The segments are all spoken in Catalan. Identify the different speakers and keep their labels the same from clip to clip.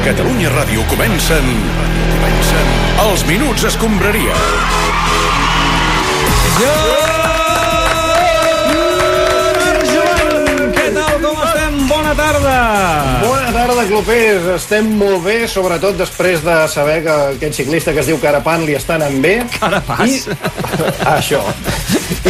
Speaker 1: Catalunya Ràdio comencen... comencen... Els Minuts Escombraria.
Speaker 2: Joan, què tal, com estem? Bona tarda!
Speaker 3: Bona tarda, clubers. Estem molt bé, sobretot després de saber que aquest ciclista que es diu Carapan li està anant bé.
Speaker 2: Carapàs.
Speaker 3: Això.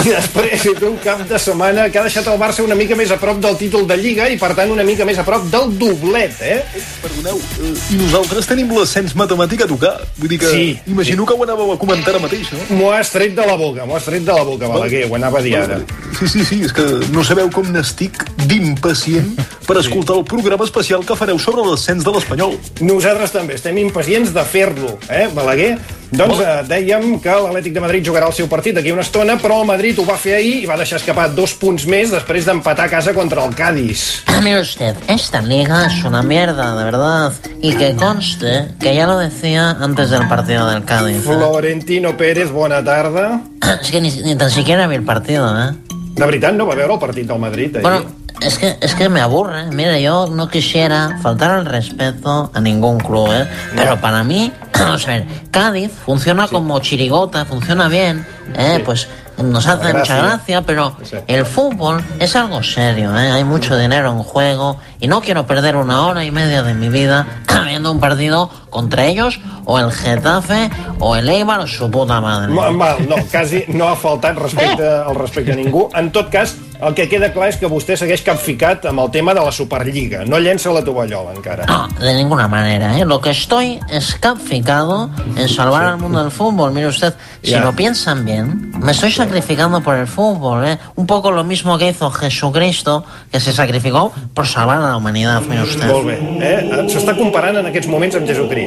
Speaker 3: I després hi té un cap de setmana que ha deixat el Barça una mica més a prop del títol de Lliga i, per tant, una mica més a prop del doblet, eh?
Speaker 4: Perdoneu, eh, i nosaltres tenim l'ascens matemàtic a tocar. Vull dir que
Speaker 3: Sí.
Speaker 4: imagino que ho anàveu a comentar ara mateix, no?
Speaker 3: M'ho has tret de la boca, m'ho has tret de la boca, Balaguer, ho anava a dir ara.
Speaker 4: Doncs, Sí, sí, sí, és que no sabeu com n'estic d'impacient per escoltar el programa especial que fareu sobre l'ascens de l'Espanyol.
Speaker 3: Nosaltres també estem impacients de fer-lo, eh, Balaguer? Doncs eh, dèiem que l'Atlètic de Madrid jugarà el seu partit aquí una estona, però el Madrid ho va fer ahir i va deixar escapar dos punts més després d'empatar a casa contra el Cádiz.
Speaker 5: Mire usted, esta liga es una mierda, de verdad. Y que conste que ya lo decía antes del partido del Cádiz. ¿eh?
Speaker 3: Florentino Pérez, bona tarda.
Speaker 5: Es que ni, ni tan siquiera vi el partido, ¿eh?
Speaker 3: De veritat, no va veure el partit del Madrid ahir?
Speaker 5: Bueno, es que, es que me aburre. Mira, yo no quisiera faltar al respeto a ningún club, ¿eh? Pero para mí, vamos a ver, Cádiz funciona como chirigota, funciona bien, ¿eh? Pues nos hace
Speaker 3: gracia.
Speaker 5: mucha gracia, pero
Speaker 3: Sí.
Speaker 5: el fútbol es algo serio, ¿eh? Hay mucho dinero en juego y no quiero perder una hora y media de mi vida viendo un partido contra ellos o el Getafe o el Eibar o su puta madre.
Speaker 3: Ma- Mal, no, quasi no ha faltat respecte al respecte a ningú. En tot cas, el que queda clar és que vostè segueix capficat amb el tema de la Superliga. No llença la tovallola, encara.
Speaker 5: No, de ninguna manera, ¿eh? Lo que estoy es capficado en salvar al mundo del fútbol. Mire usted, si
Speaker 3: Ya.
Speaker 5: lo piensan bien, me estoy sacrificando por el fútbol, ¿eh? Un poco lo mismo que hizo Jesucristo, que se sacrificó por salvar a la humanidad, mire
Speaker 3: Molt
Speaker 5: usted.
Speaker 3: bé. Eh? S'està comparant en aquests moments amb Jesucrist.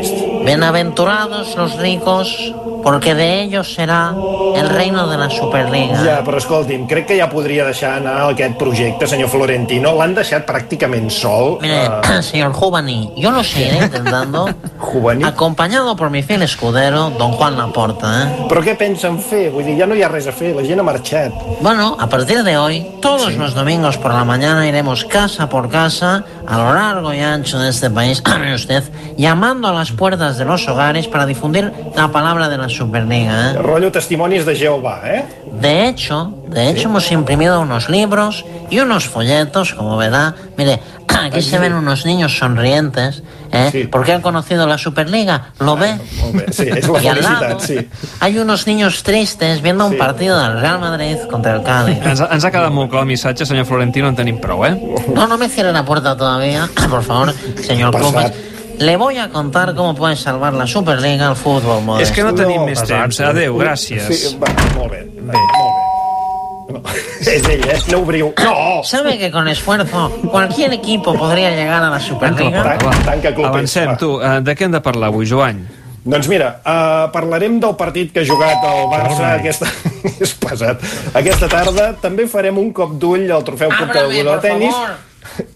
Speaker 5: Bienaventurados los ricos, porque de ellos será el reino de la Superliga.
Speaker 3: Ja, però escolti'm, crec que ja podria deixar anar aquest projecte, senyor Florentino. L'han deixat pràcticament sol.
Speaker 5: Mire,
Speaker 3: Ah.
Speaker 5: señor Jubani, yo lo seguiré intentando,
Speaker 3: Juvani?
Speaker 5: acompañado por mi fiel escudero, don Juan Laporta, ¿eh?
Speaker 3: Però què pensen fer? Vull dir, ja no hi ha res a fer, la gent ha marxat.
Speaker 5: Bueno, a partir de hoy, todos los domingos por la mañana iremos casa por casa, a lo largo y ancho de este país, mire usted, llamando a las puertas de los hogares para difundir la palabra de la Superliga. ¿eh?
Speaker 3: Rollo testimonis de Jehovà, eh?
Speaker 5: De hecho, de hecho hemos imprimido unos libros y unos folletos, como verá. Mire, aquí se ven unos niños sonrientes, ¿eh?
Speaker 3: Sí.
Speaker 5: porque han conocido la Superliga, ¿lo ve?
Speaker 3: Molt bé, sí, és la
Speaker 5: Y al lado
Speaker 3: felicitat, sí.
Speaker 5: hay unos niños tristes viendo
Speaker 3: Sí.
Speaker 5: un partido del Real Madrid contra el Cádiz.
Speaker 2: Ens, ens ha quedat molt clar el missatge, senyor Florentino, en tenim prou, eh?
Speaker 5: No, no me cierre la puerta todavía, Ah, por favor, señor
Speaker 3: Pasad.
Speaker 5: Comas. Le voy a contar cómo puede salvar la Superliga al fútbol
Speaker 2: És
Speaker 5: modesto.
Speaker 2: que no tenim més
Speaker 3: pesat,
Speaker 2: temps.
Speaker 3: sí.
Speaker 2: Adéu, gràcies.
Speaker 3: eh? Sí, va, molt bé. Bé, molt bé. No, és ell, eh? No obriu. No!
Speaker 5: ¿Sabe que con esfuerzo cualquier equipo podría llegar a la Superliga?
Speaker 3: Tanca, tanca clubers,
Speaker 2: Avancem,
Speaker 3: va.
Speaker 2: tu. Eh, De què hem de parlar avui, Joan?
Speaker 3: Doncs mira, uh, parlarem del partit que ha jugat el Barça aquesta... és pesat. Aquesta tarda també farem un cop d'ull al trofeu Cup
Speaker 5: Ábrame,
Speaker 3: del Mundo
Speaker 5: por
Speaker 3: de Tenis
Speaker 5: favor.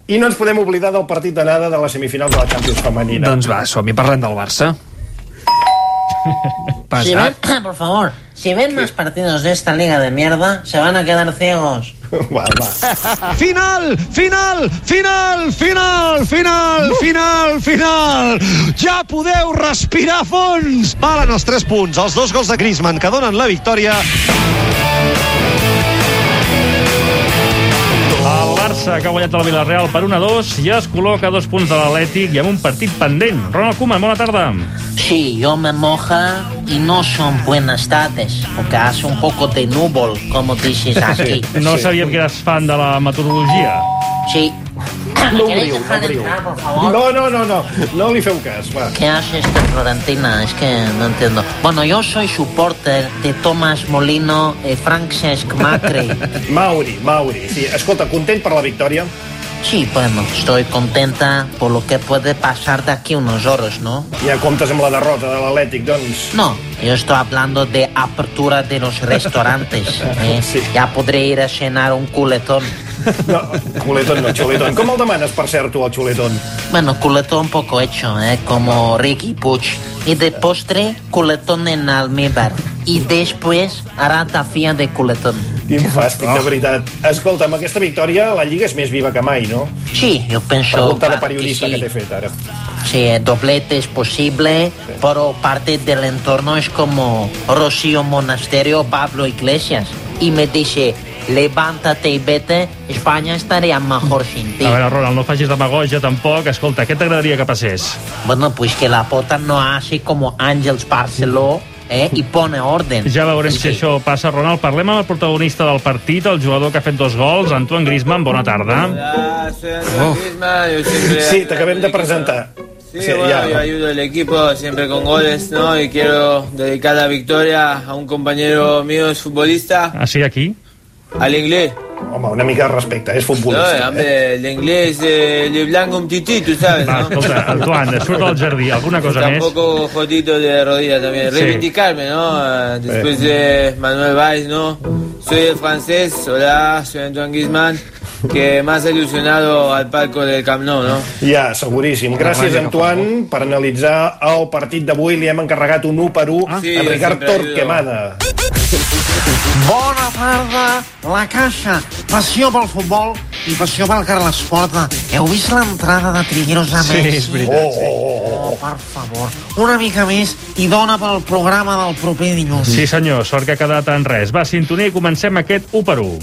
Speaker 3: i no ens podem oblidar del partit d'anada de la semifinal de la Champions femenina.
Speaker 2: Doncs va, som-hi, parlem del Barça.
Speaker 5: Si ven, Ah,
Speaker 2: Pesat.
Speaker 5: por favor, si ven más partidos de esta liga de mierda, se van a quedar ciegos.
Speaker 3: Va, va.
Speaker 6: Final, final, final, final, final,
Speaker 3: Uh!
Speaker 6: final, final. Ja podeu respirar a fons. Valen els 3 punts, els dos gols de Griezmann que donen la victòria.
Speaker 7: El Barça, que ha guanyat el Villarreal per 1-2, ja es col·loca a dos punts de l'Atlètic i amb un partit pendent. Ronald Koeman, bona tarda.
Speaker 5: Sí, yo me moja y no son buenas tardes, porque hace un poco de núvol, como dices aquí.
Speaker 7: No sabíem que eres fan de la meteorologia.
Speaker 5: Sí. Ah, ¿Me
Speaker 3: No
Speaker 5: queréis
Speaker 3: obriu, no
Speaker 5: dejar
Speaker 3: obriu.
Speaker 5: entrar, por favor?
Speaker 3: No, no, no, no. No li feu cas, va.
Speaker 5: ¿Qué hace este Florentina? Es que no entiendo. Bueno, yo soy supporter de Tomás Molino y Francesc Macri.
Speaker 3: Mauri, Mauri. Sí, escolta, content per la victòria?
Speaker 5: Sí, bueno, estoy contenta por lo que puede pasar de aquí unos horas, ¿no?
Speaker 3: Ja comptes amb la derrota de l'Atlètic, doncs.
Speaker 5: No, yo estoy hablando de apertura de los restaurantes. ¿eh?
Speaker 3: Sí.
Speaker 5: Ya podré ir a cenar un culetón.
Speaker 3: No, xuletón no, xuletón. Com el demanes, per cert, tu, el xuletón?
Speaker 5: Bueno, culetón poco hecho, ¿eh? como Ricky Puch. Y de postre, culetón en almíbar. Y después, hará tafía de culetón.
Speaker 3: Quin fàstic, de veritat. Escolta, amb aquesta victòria la Lliga és més viva que mai, no?
Speaker 5: Sí, yo pienso
Speaker 3: Pregunta de
Speaker 5: que
Speaker 3: periodista
Speaker 5: sí.
Speaker 3: que t'he fet ara.
Speaker 5: Sí, el doblete es posible, pero parte del entorno es como Rocío Monasterio, Pablo Iglesias. Y me dice, levántate y vete, España estaría mejor sin ti.
Speaker 7: A veure, Ronald, no facis demagogia tampoc. Escolta, què t'agradaria que passés?
Speaker 5: Bueno, pues que la pota no hace como Ángels Barceló ¿eh? y pone orden.
Speaker 7: Ja veurem si
Speaker 5: Sí.
Speaker 7: això passa, Ronald. Parlem amb el protagonista del partit, el jugador que ha fet dos gols, Antoine Griezmann. Bona tarda.
Speaker 3: Oh. Sí, te acabem de presentar.
Speaker 8: Sí,
Speaker 3: Sí,
Speaker 8: bueno,
Speaker 3: ja.
Speaker 8: yo ayudo al equipo siempre con goles, ¿no? Y quiero dedicar la victoria a un compañero mío, es futbolista,
Speaker 7: Ah, sí, aquí?
Speaker 8: al inglés.
Speaker 3: Home, una mica de respecte, és
Speaker 8: No,
Speaker 3: futbolista. Eh?
Speaker 8: hombre, el inglés, eh, Leblanc un tití, tú sabes,
Speaker 7: Va,
Speaker 8: ¿no?
Speaker 7: escolta, Antoine, surt del jardí. Alguna cosa més?
Speaker 8: Tampoco jodido de rodilla también.
Speaker 7: Sí.
Speaker 8: Reivindicarme, ¿no? Eh, Después de Manuel Valls, ¿no? Soy el francés, hola, soy Antoine Griezmann, que más ha ilusionado al palco del Camp Nou, ¿no?
Speaker 3: Ja, seguríssim. Gràcies,
Speaker 2: vaja,
Speaker 3: Antoine, per analitzar el partit d'avui. Li hem encarregat un 1 per 1
Speaker 8: Sí,
Speaker 3: a Ricard
Speaker 8: sempre ajudo.
Speaker 3: Torquemada.
Speaker 5: Bona tarda, la caixa. Passió pel futbol i passió pel Carlesporta. Heu vist l'entrada de Trigueros a Messi?
Speaker 6: és
Speaker 3: Oh,
Speaker 6: veritat.
Speaker 3: oh, oh.
Speaker 5: Oh, per favor, una mica més i dona pel programa del proper dilluns.
Speaker 7: Sí, senyor, sort que ha quedat en res. Va, sintonia i comencem aquest 1 per 1.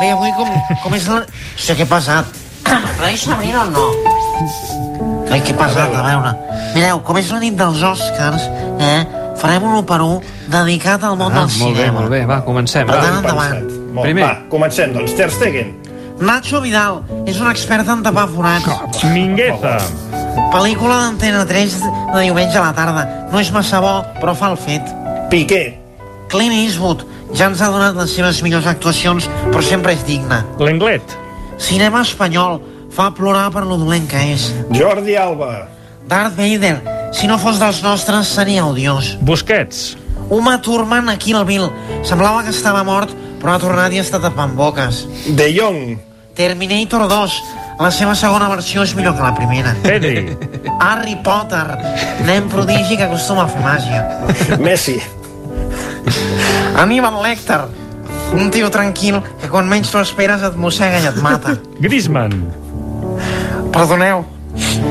Speaker 5: Bé, avui com, com és la... Hòstia, què ha passat? Reis Abril o no? Ai, què ha passat? A veure. Mireu, com és la nit dels Oscars, eh? Farem un 1 per 1 dedicat al món
Speaker 2: Ah,
Speaker 5: del
Speaker 2: molt
Speaker 5: cinema.
Speaker 2: bé, molt bé. Va, comencem.
Speaker 5: Per
Speaker 2: Va.
Speaker 5: tant, endavant.
Speaker 3: Pensat. Molt,
Speaker 2: Primer.
Speaker 3: Va, comencem, doncs. Ter Stegen.
Speaker 5: Nacho Vidal és un expert en tapar forats.
Speaker 7: Mingueza.
Speaker 5: Pel·lícula d'Antena 3 de diumenge a la tarda. No és massa bo, però fa el fet.
Speaker 3: Piqué.
Speaker 5: Clint Eastwood ja ens ha donat les seves millors actuacions, però sempre és digne.
Speaker 7: L'Englet.
Speaker 5: Cinema espanyol fa plorar per lo dolent que és.
Speaker 3: Jordi Alba.
Speaker 5: Darth Vader, si no fos dels nostres, seria odiós.
Speaker 7: Busquets.
Speaker 5: Uma Thurman a Kill Bill. Semblava que estava mort, però ha tornat i està tapant boques.
Speaker 3: De Jong.
Speaker 5: Terminator 2, la seva segona versió és millor que la primera.
Speaker 7: Pedri.
Speaker 5: Harry Potter, nen prodigi que acostuma a fer màgia.
Speaker 3: Messi.
Speaker 5: Aníbal Lecter, un tio tranquil que quan menys t'ho esperes et mossega i et mata.
Speaker 7: Griezmann.
Speaker 5: Perdoneu,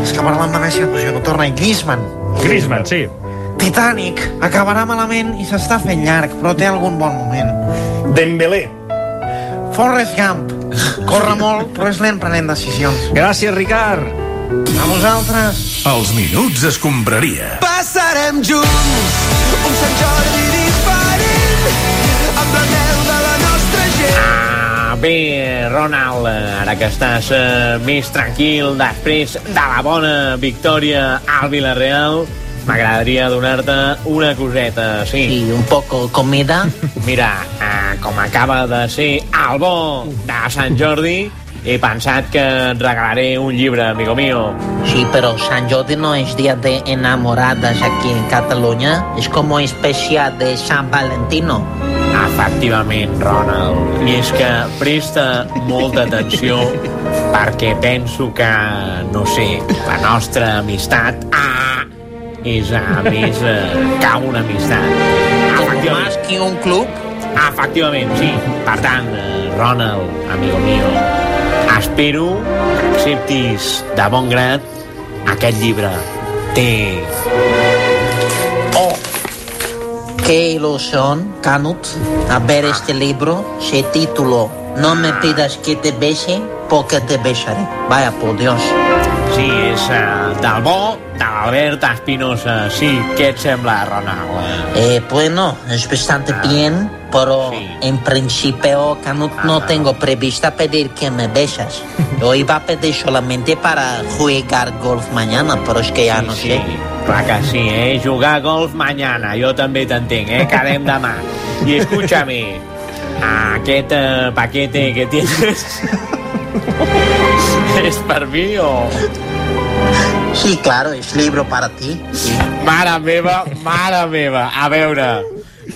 Speaker 5: és que parlant de Messi doncs jo torna i Griezmann.
Speaker 7: Griezmann, sí.
Speaker 5: Titanic acabarà malament i s'està fent llarg, però té algun bon moment.
Speaker 3: Dembélé.
Speaker 5: Forrest Gump. Corre molt, però és lent prenent decisions.
Speaker 2: Gràcies, Ricard.
Speaker 5: A vosaltres...
Speaker 1: Els minuts escombraria.
Speaker 9: Passarem junts un Sant Jordi diferent amb l'anel de la nostra gent.
Speaker 10: Ah, bé, Ronald, eh, ara que estàs eh, més tranquil després de la bona victòria al Villarreal, m'agradaria donar-te una coseta, sí.
Speaker 5: un poco comida.
Speaker 10: Mira, eh, com acaba de ser el bo de Sant Jordi, he pensat que et regalaré un llibre, amigo mío.
Speaker 5: Sí, pero San Jordi no es día de enamoradas aquí en Cataluña. Es como especial de San Valentino.
Speaker 10: Efectivament, Ronald. I és que presta molta atenció perquè penso que, no sé, la nostra amistat ah, és a més eh, que una amistat. Efectivament,
Speaker 5: Más que un club.
Speaker 10: efectivament, sí. Per tant, eh, Ronald, amigo mío, espero que acceptis de bon grat aquest llibre. Té Oh.
Speaker 5: Qué ilusión, Canut, a ver este libro. Se título No me pidas que te bese, porque te besaré. Vaya por Dios.
Speaker 10: Sí, és uh, del bo de l'Albert Espinosa. Sí, què et sembla, Ronald?
Speaker 5: Eh, bueno, es bastante bien, pero
Speaker 10: Sí.
Speaker 5: en principio Canut no tengo prevista pedir que me besas. Yo iba a pedir solamente para jugar golf mañana, pero es que ya Ah, no sé.
Speaker 10: Clar que sí, eh? Jugar a golf mañana, jo també t'entenc, eh? Quedem demà. I escúchame, aquest uh, paquete que tienes... és per mi o...
Speaker 5: Sí, claro, es libro para ti.
Speaker 10: Mare meva, mare meva. A veure...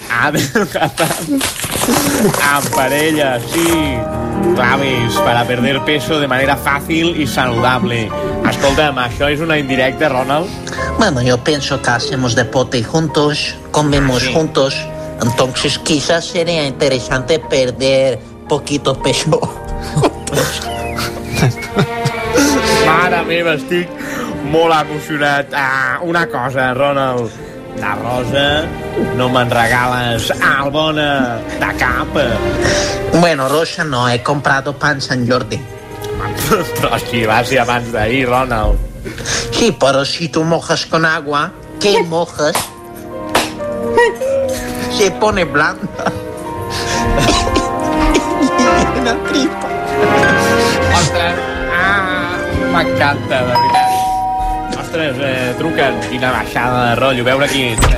Speaker 10: A veure... En parella, sí. Claves para perder peso de manera fàcil i saludable. Escolta'm, això és una indirecta, Ronald?
Speaker 5: Bueno, yo pienso que hacemos deporte juntos, comemos
Speaker 10: Sí.
Speaker 5: juntos, entonces quizás sería interesante perder poquito pecho.
Speaker 10: Mare meva, estic molt emocionat. Ah, una cosa, Ronald. La Rosa no me'n regales al bona de cap.
Speaker 5: Bueno, Rosa no, he comprado pan San Jordi.
Speaker 10: Però si va ser abans d'ahir, Ronald.
Speaker 5: Sí, pero si tú mojas con agua, ¿qué mojas? Se pone blanda.
Speaker 10: Una tripa. Ostres, ah, m'encanta, de veritat. Ostres, eh, truquen, quina baixada de rotllo, veure qui entra.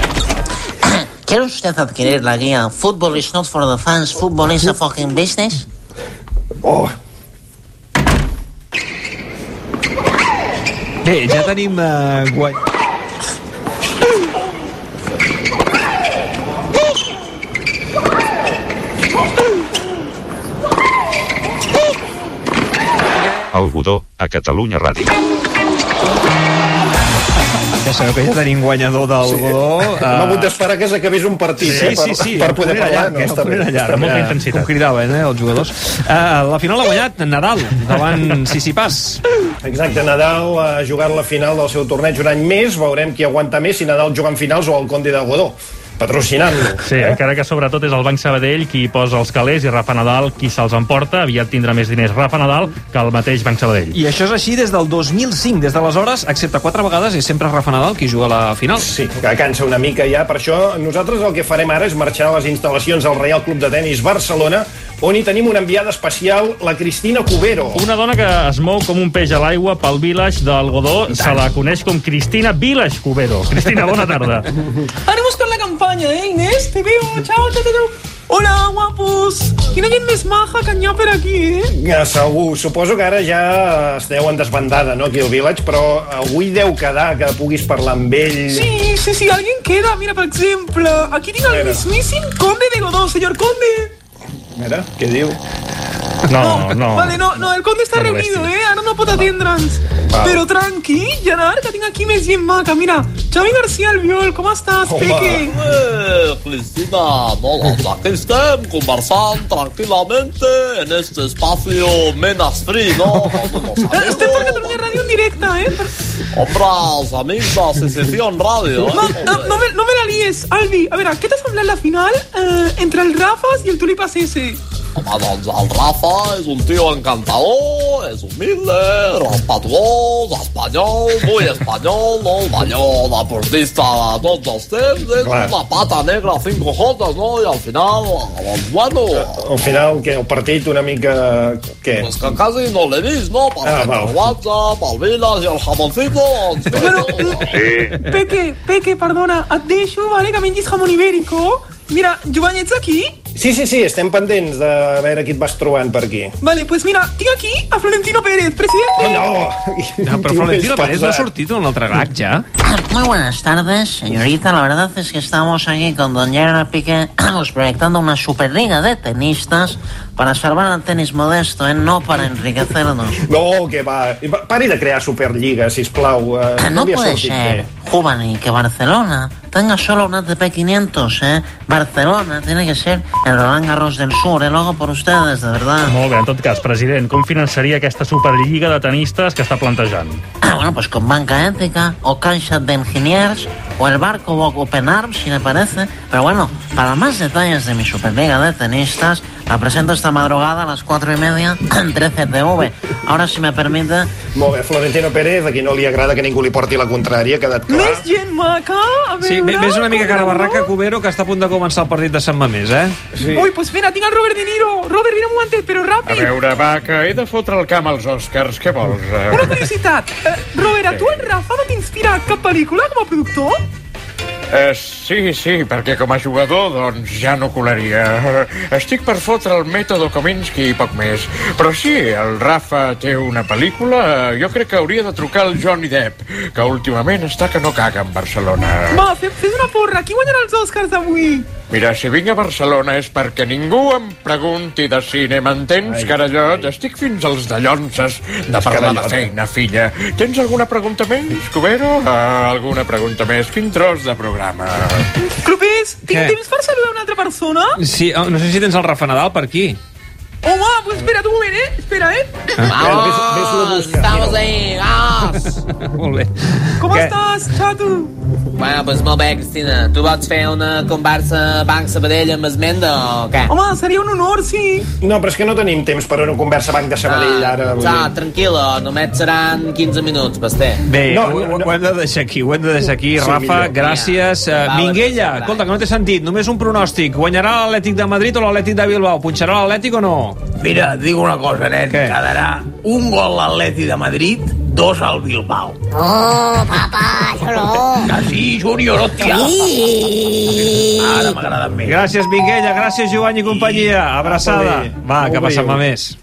Speaker 5: ¿Quiere usted adquirir la guía Football is not for the fans, football is a fucking business?
Speaker 3: Oh,
Speaker 2: Bé, ja tenim eh, guany...
Speaker 11: El Godó, a Catalunya Ràdio.
Speaker 2: Ja sabeu que ja tenim guanyador del sí. Godó.
Speaker 3: Hem hagut d'esperar que s'acabés un partit
Speaker 2: Ah. Sí,
Speaker 3: eh,
Speaker 2: sí, sí,
Speaker 3: per, per poder parlar.
Speaker 2: llarg, no? Era llarg,
Speaker 7: Amb molta
Speaker 2: eh,
Speaker 7: intensitat.
Speaker 2: Com cridaven, eh, els jugadors. Uh, la final ha guanyat Nadal, davant Sissipàs.
Speaker 3: Exacte, Nadal ha jugat la final del seu torneig un any més, veurem qui aguanta més, si Nadal juga en finals o el Conde de Godó, patrocinant-lo.
Speaker 7: Sí, eh? encara que sobretot és el Banc Sabadell qui hi posa els calés i Rafa Nadal qui se'ls emporta. Aviat tindrà més diners Rafa Nadal que el mateix Banc Sabadell.
Speaker 2: I això és així des del 2005. Des d'aleshores, excepte quatre vegades, és sempre Rafa Nadal qui juga a la final.
Speaker 3: Sí, que cansa una mica ja, per això nosaltres el que farem ara és marxar a les instal·lacions del Real Club de Tenis Barcelona, on hi tenim una enviada especial, la Cristina Cubero.
Speaker 7: Una dona que es mou com un peix a l'aigua pel village del Godó se la coneix com Cristina Village Cubero. Cristina, bona tarda.
Speaker 12: Haremos con la campaña, ¿eh, Inés? Te veo, chao, chao, chao. Hola, guapos. Mira quién es maja cañá por aquí, ¿eh?
Speaker 3: Ja, segur, suposo que ara ja esteu en desbandada, no, aquí al Village, però avui deu quedar que puguis parlar amb ell.
Speaker 12: Sí, sí, sí, alguien queda. Mira, por ejemplo, aquí tengo al
Speaker 3: Espera.
Speaker 12: mismísimo conde de Godó, señor conde.
Speaker 3: Mira, què diu?
Speaker 7: No, no.
Speaker 12: Vale, no, no, el conde está
Speaker 7: No este. molestes.
Speaker 12: reunido, ¿eh? Ahora no puedo atendrans. Pero tranqui, ya la arca tengo aquí me es bien maca. Mira, Xavi García Albiol, ¿cómo estás, Peque?
Speaker 13: Eh, Cristina, molt aquí estem conversant tranquil·lament en este espacio menos free, no?
Speaker 12: Este por Cataluña Radio en directa, ¿eh?
Speaker 13: Hombre, els amics de Secessió en ràdio,
Speaker 12: No,
Speaker 13: eh?
Speaker 12: no, no me, no me la líes, Albi. A ver, ¿a qué te has hablado en la final eh, entre el Rafas y el Tulipas ese?
Speaker 13: Home, doncs el Rafa és un tio encantador, és humilde, respectuós, espanyol, muy espanyol, no? D'allò deportista de tots els temps, és
Speaker 3: Clar.
Speaker 13: una pata negra, cinco jotes, no? I al final, doncs, bueno,
Speaker 3: Al final, què, el partit una mica... Què?
Speaker 13: Pues que quasi no l'he vist, no? Perquè
Speaker 3: Ah,
Speaker 13: ah,
Speaker 3: val.
Speaker 13: el WhatsApp, el Vilas i el Jamoncito... Doncs... Sí.
Speaker 12: Peque, Peque, perdona, et deixo, vale, que mengis jamón ibérico. Mira, Joan, ets aquí?
Speaker 3: Sí, sí, sí, estem pendents de veure qui et vas trobant per aquí.
Speaker 12: Vale, pues mira, tinc aquí a Florentino Pérez, presidente.
Speaker 3: No!
Speaker 2: No, però
Speaker 3: Tio,
Speaker 2: Florentino
Speaker 3: és
Speaker 2: Pérez no ha
Speaker 3: pesat.
Speaker 2: sortit en un altre gag, ja.
Speaker 5: Muy buenas tardes, señorita. La verdad es que estamos aquí con Don Gerard Piqué pues, proyectando una superliga de tenistas para salvar al tenis modesto, ¿eh? no para enriquecernos.
Speaker 3: No, que va. Pari de crear Superliga, sisplau. Eh,
Speaker 5: Ah, No
Speaker 3: havia
Speaker 5: puede
Speaker 3: sortit
Speaker 5: ser,
Speaker 3: bé.
Speaker 5: Juvani, que Barcelona tenga solo un ATP 500, ¿eh? Barcelona tiene que ser el Roland Garros del Sur, ¿eh? Luego por ustedes, de verdad.
Speaker 7: Molt bé, en tot cas, president, com finançaria aquesta Superliga de tenistes que està plantejant?
Speaker 5: Ah, bueno, pues con banca ética o cancha de engineers o el barco Bob Open Arms, si le parece. Pero bueno, para más detalles de mi Superliga de tenistas, la presento esta madrugada a las cuatro y media en 13 TV. Ahora, si me permite,
Speaker 3: Molt bé, Florentino Pérez, a qui no li agrada que ningú li porti la contrària, ha quedat clar.
Speaker 12: Més gent maca, a veure...
Speaker 2: Sí, ve- ves una mica cara barraca, Cubero, que està a punt de començar el partit de Sant Mamés, eh?
Speaker 12: Sí. Ui, pues mira, tinc el Robert De Niro. Robert, vine un momentet, però
Speaker 14: A
Speaker 12: ràpid.
Speaker 14: veure, va, que he de fotre el camp als Oscars, què vols?
Speaker 12: Una
Speaker 14: Eh,
Speaker 12: curiositat. Eh, Robert, a tu el Rafa no t'inspira cap pel·lícula com a productor?
Speaker 14: eh, sí, sí, perquè com a jugador, doncs, ja no colaria. Eh, Estic per fotre el mètode Kominsky i poc més. Però sí, el Rafa té una pel·lícula, eh, jo crec que hauria de trucar el Johnny Depp, que últimament està que no caga en Barcelona.
Speaker 12: Va, fes, fes una porra. Qui guanyarà els Oscars avui?
Speaker 14: Mira, si vinc a Barcelona és perquè ningú em pregunti de cine, m'entens, carallot? Estic fins als dallonses de parlar de
Speaker 3: Carallot.
Speaker 14: feina, filla. Tens alguna pregunta més, Cubero? Ah, alguna pregunta més? Quin tros de programa?
Speaker 12: Clopés, tinc
Speaker 2: Què?
Speaker 12: temps per saludar una altra persona?
Speaker 2: Sí, oh, no sé si tens el Rafa Nadal per aquí.
Speaker 12: Oh, guapo, espera tu un moment, eh? Espera, eh?
Speaker 10: Vamos, estamos
Speaker 12: ahí,
Speaker 10: vamos.
Speaker 2: Molt bé.
Speaker 12: Com estàs, xato?
Speaker 10: Bueno, doncs molt bé, Cristina. Tu vols fer una conversa Banc Sabadell amb Esmenda o què?
Speaker 3: Home, seria un honor, sí. No, però és que no tenim temps per una conversa banc de Sabadell, ara. vull
Speaker 10: Ja,
Speaker 3: dir.
Speaker 10: tranquil·la, només seran 15 minuts, Basté.
Speaker 2: Bé, no, ho, ho, ho hem de deixar aquí, ho hem de deixar aquí.
Speaker 10: Sí,
Speaker 2: Sí, Rafa,
Speaker 10: millor.
Speaker 2: millor. gràcies.
Speaker 10: Vinga,
Speaker 2: Uh,
Speaker 10: va,
Speaker 2: Minguella, escolta, que no té sentit, només un pronòstic. Guanyarà l'Atlètic de Madrid o l'Atlètic de Bilbao? Punxarà l'Atlètic o no?
Speaker 6: Mira, et dic una cosa, nen. Què? Quedarà un gol a l'Atleti de Madrid, dos al Bilbao.
Speaker 8: Oh, papá, yo no.
Speaker 6: Que sí, Júnior, hòstia.
Speaker 8: Sí.
Speaker 6: Ara m'agrada més.
Speaker 2: Gràcies, Minguella, gràcies, Joan i companyia. Abraçada.
Speaker 6: Molt bé.
Speaker 2: Va,
Speaker 6: Molt
Speaker 2: que
Speaker 6: bé.
Speaker 2: passem a més.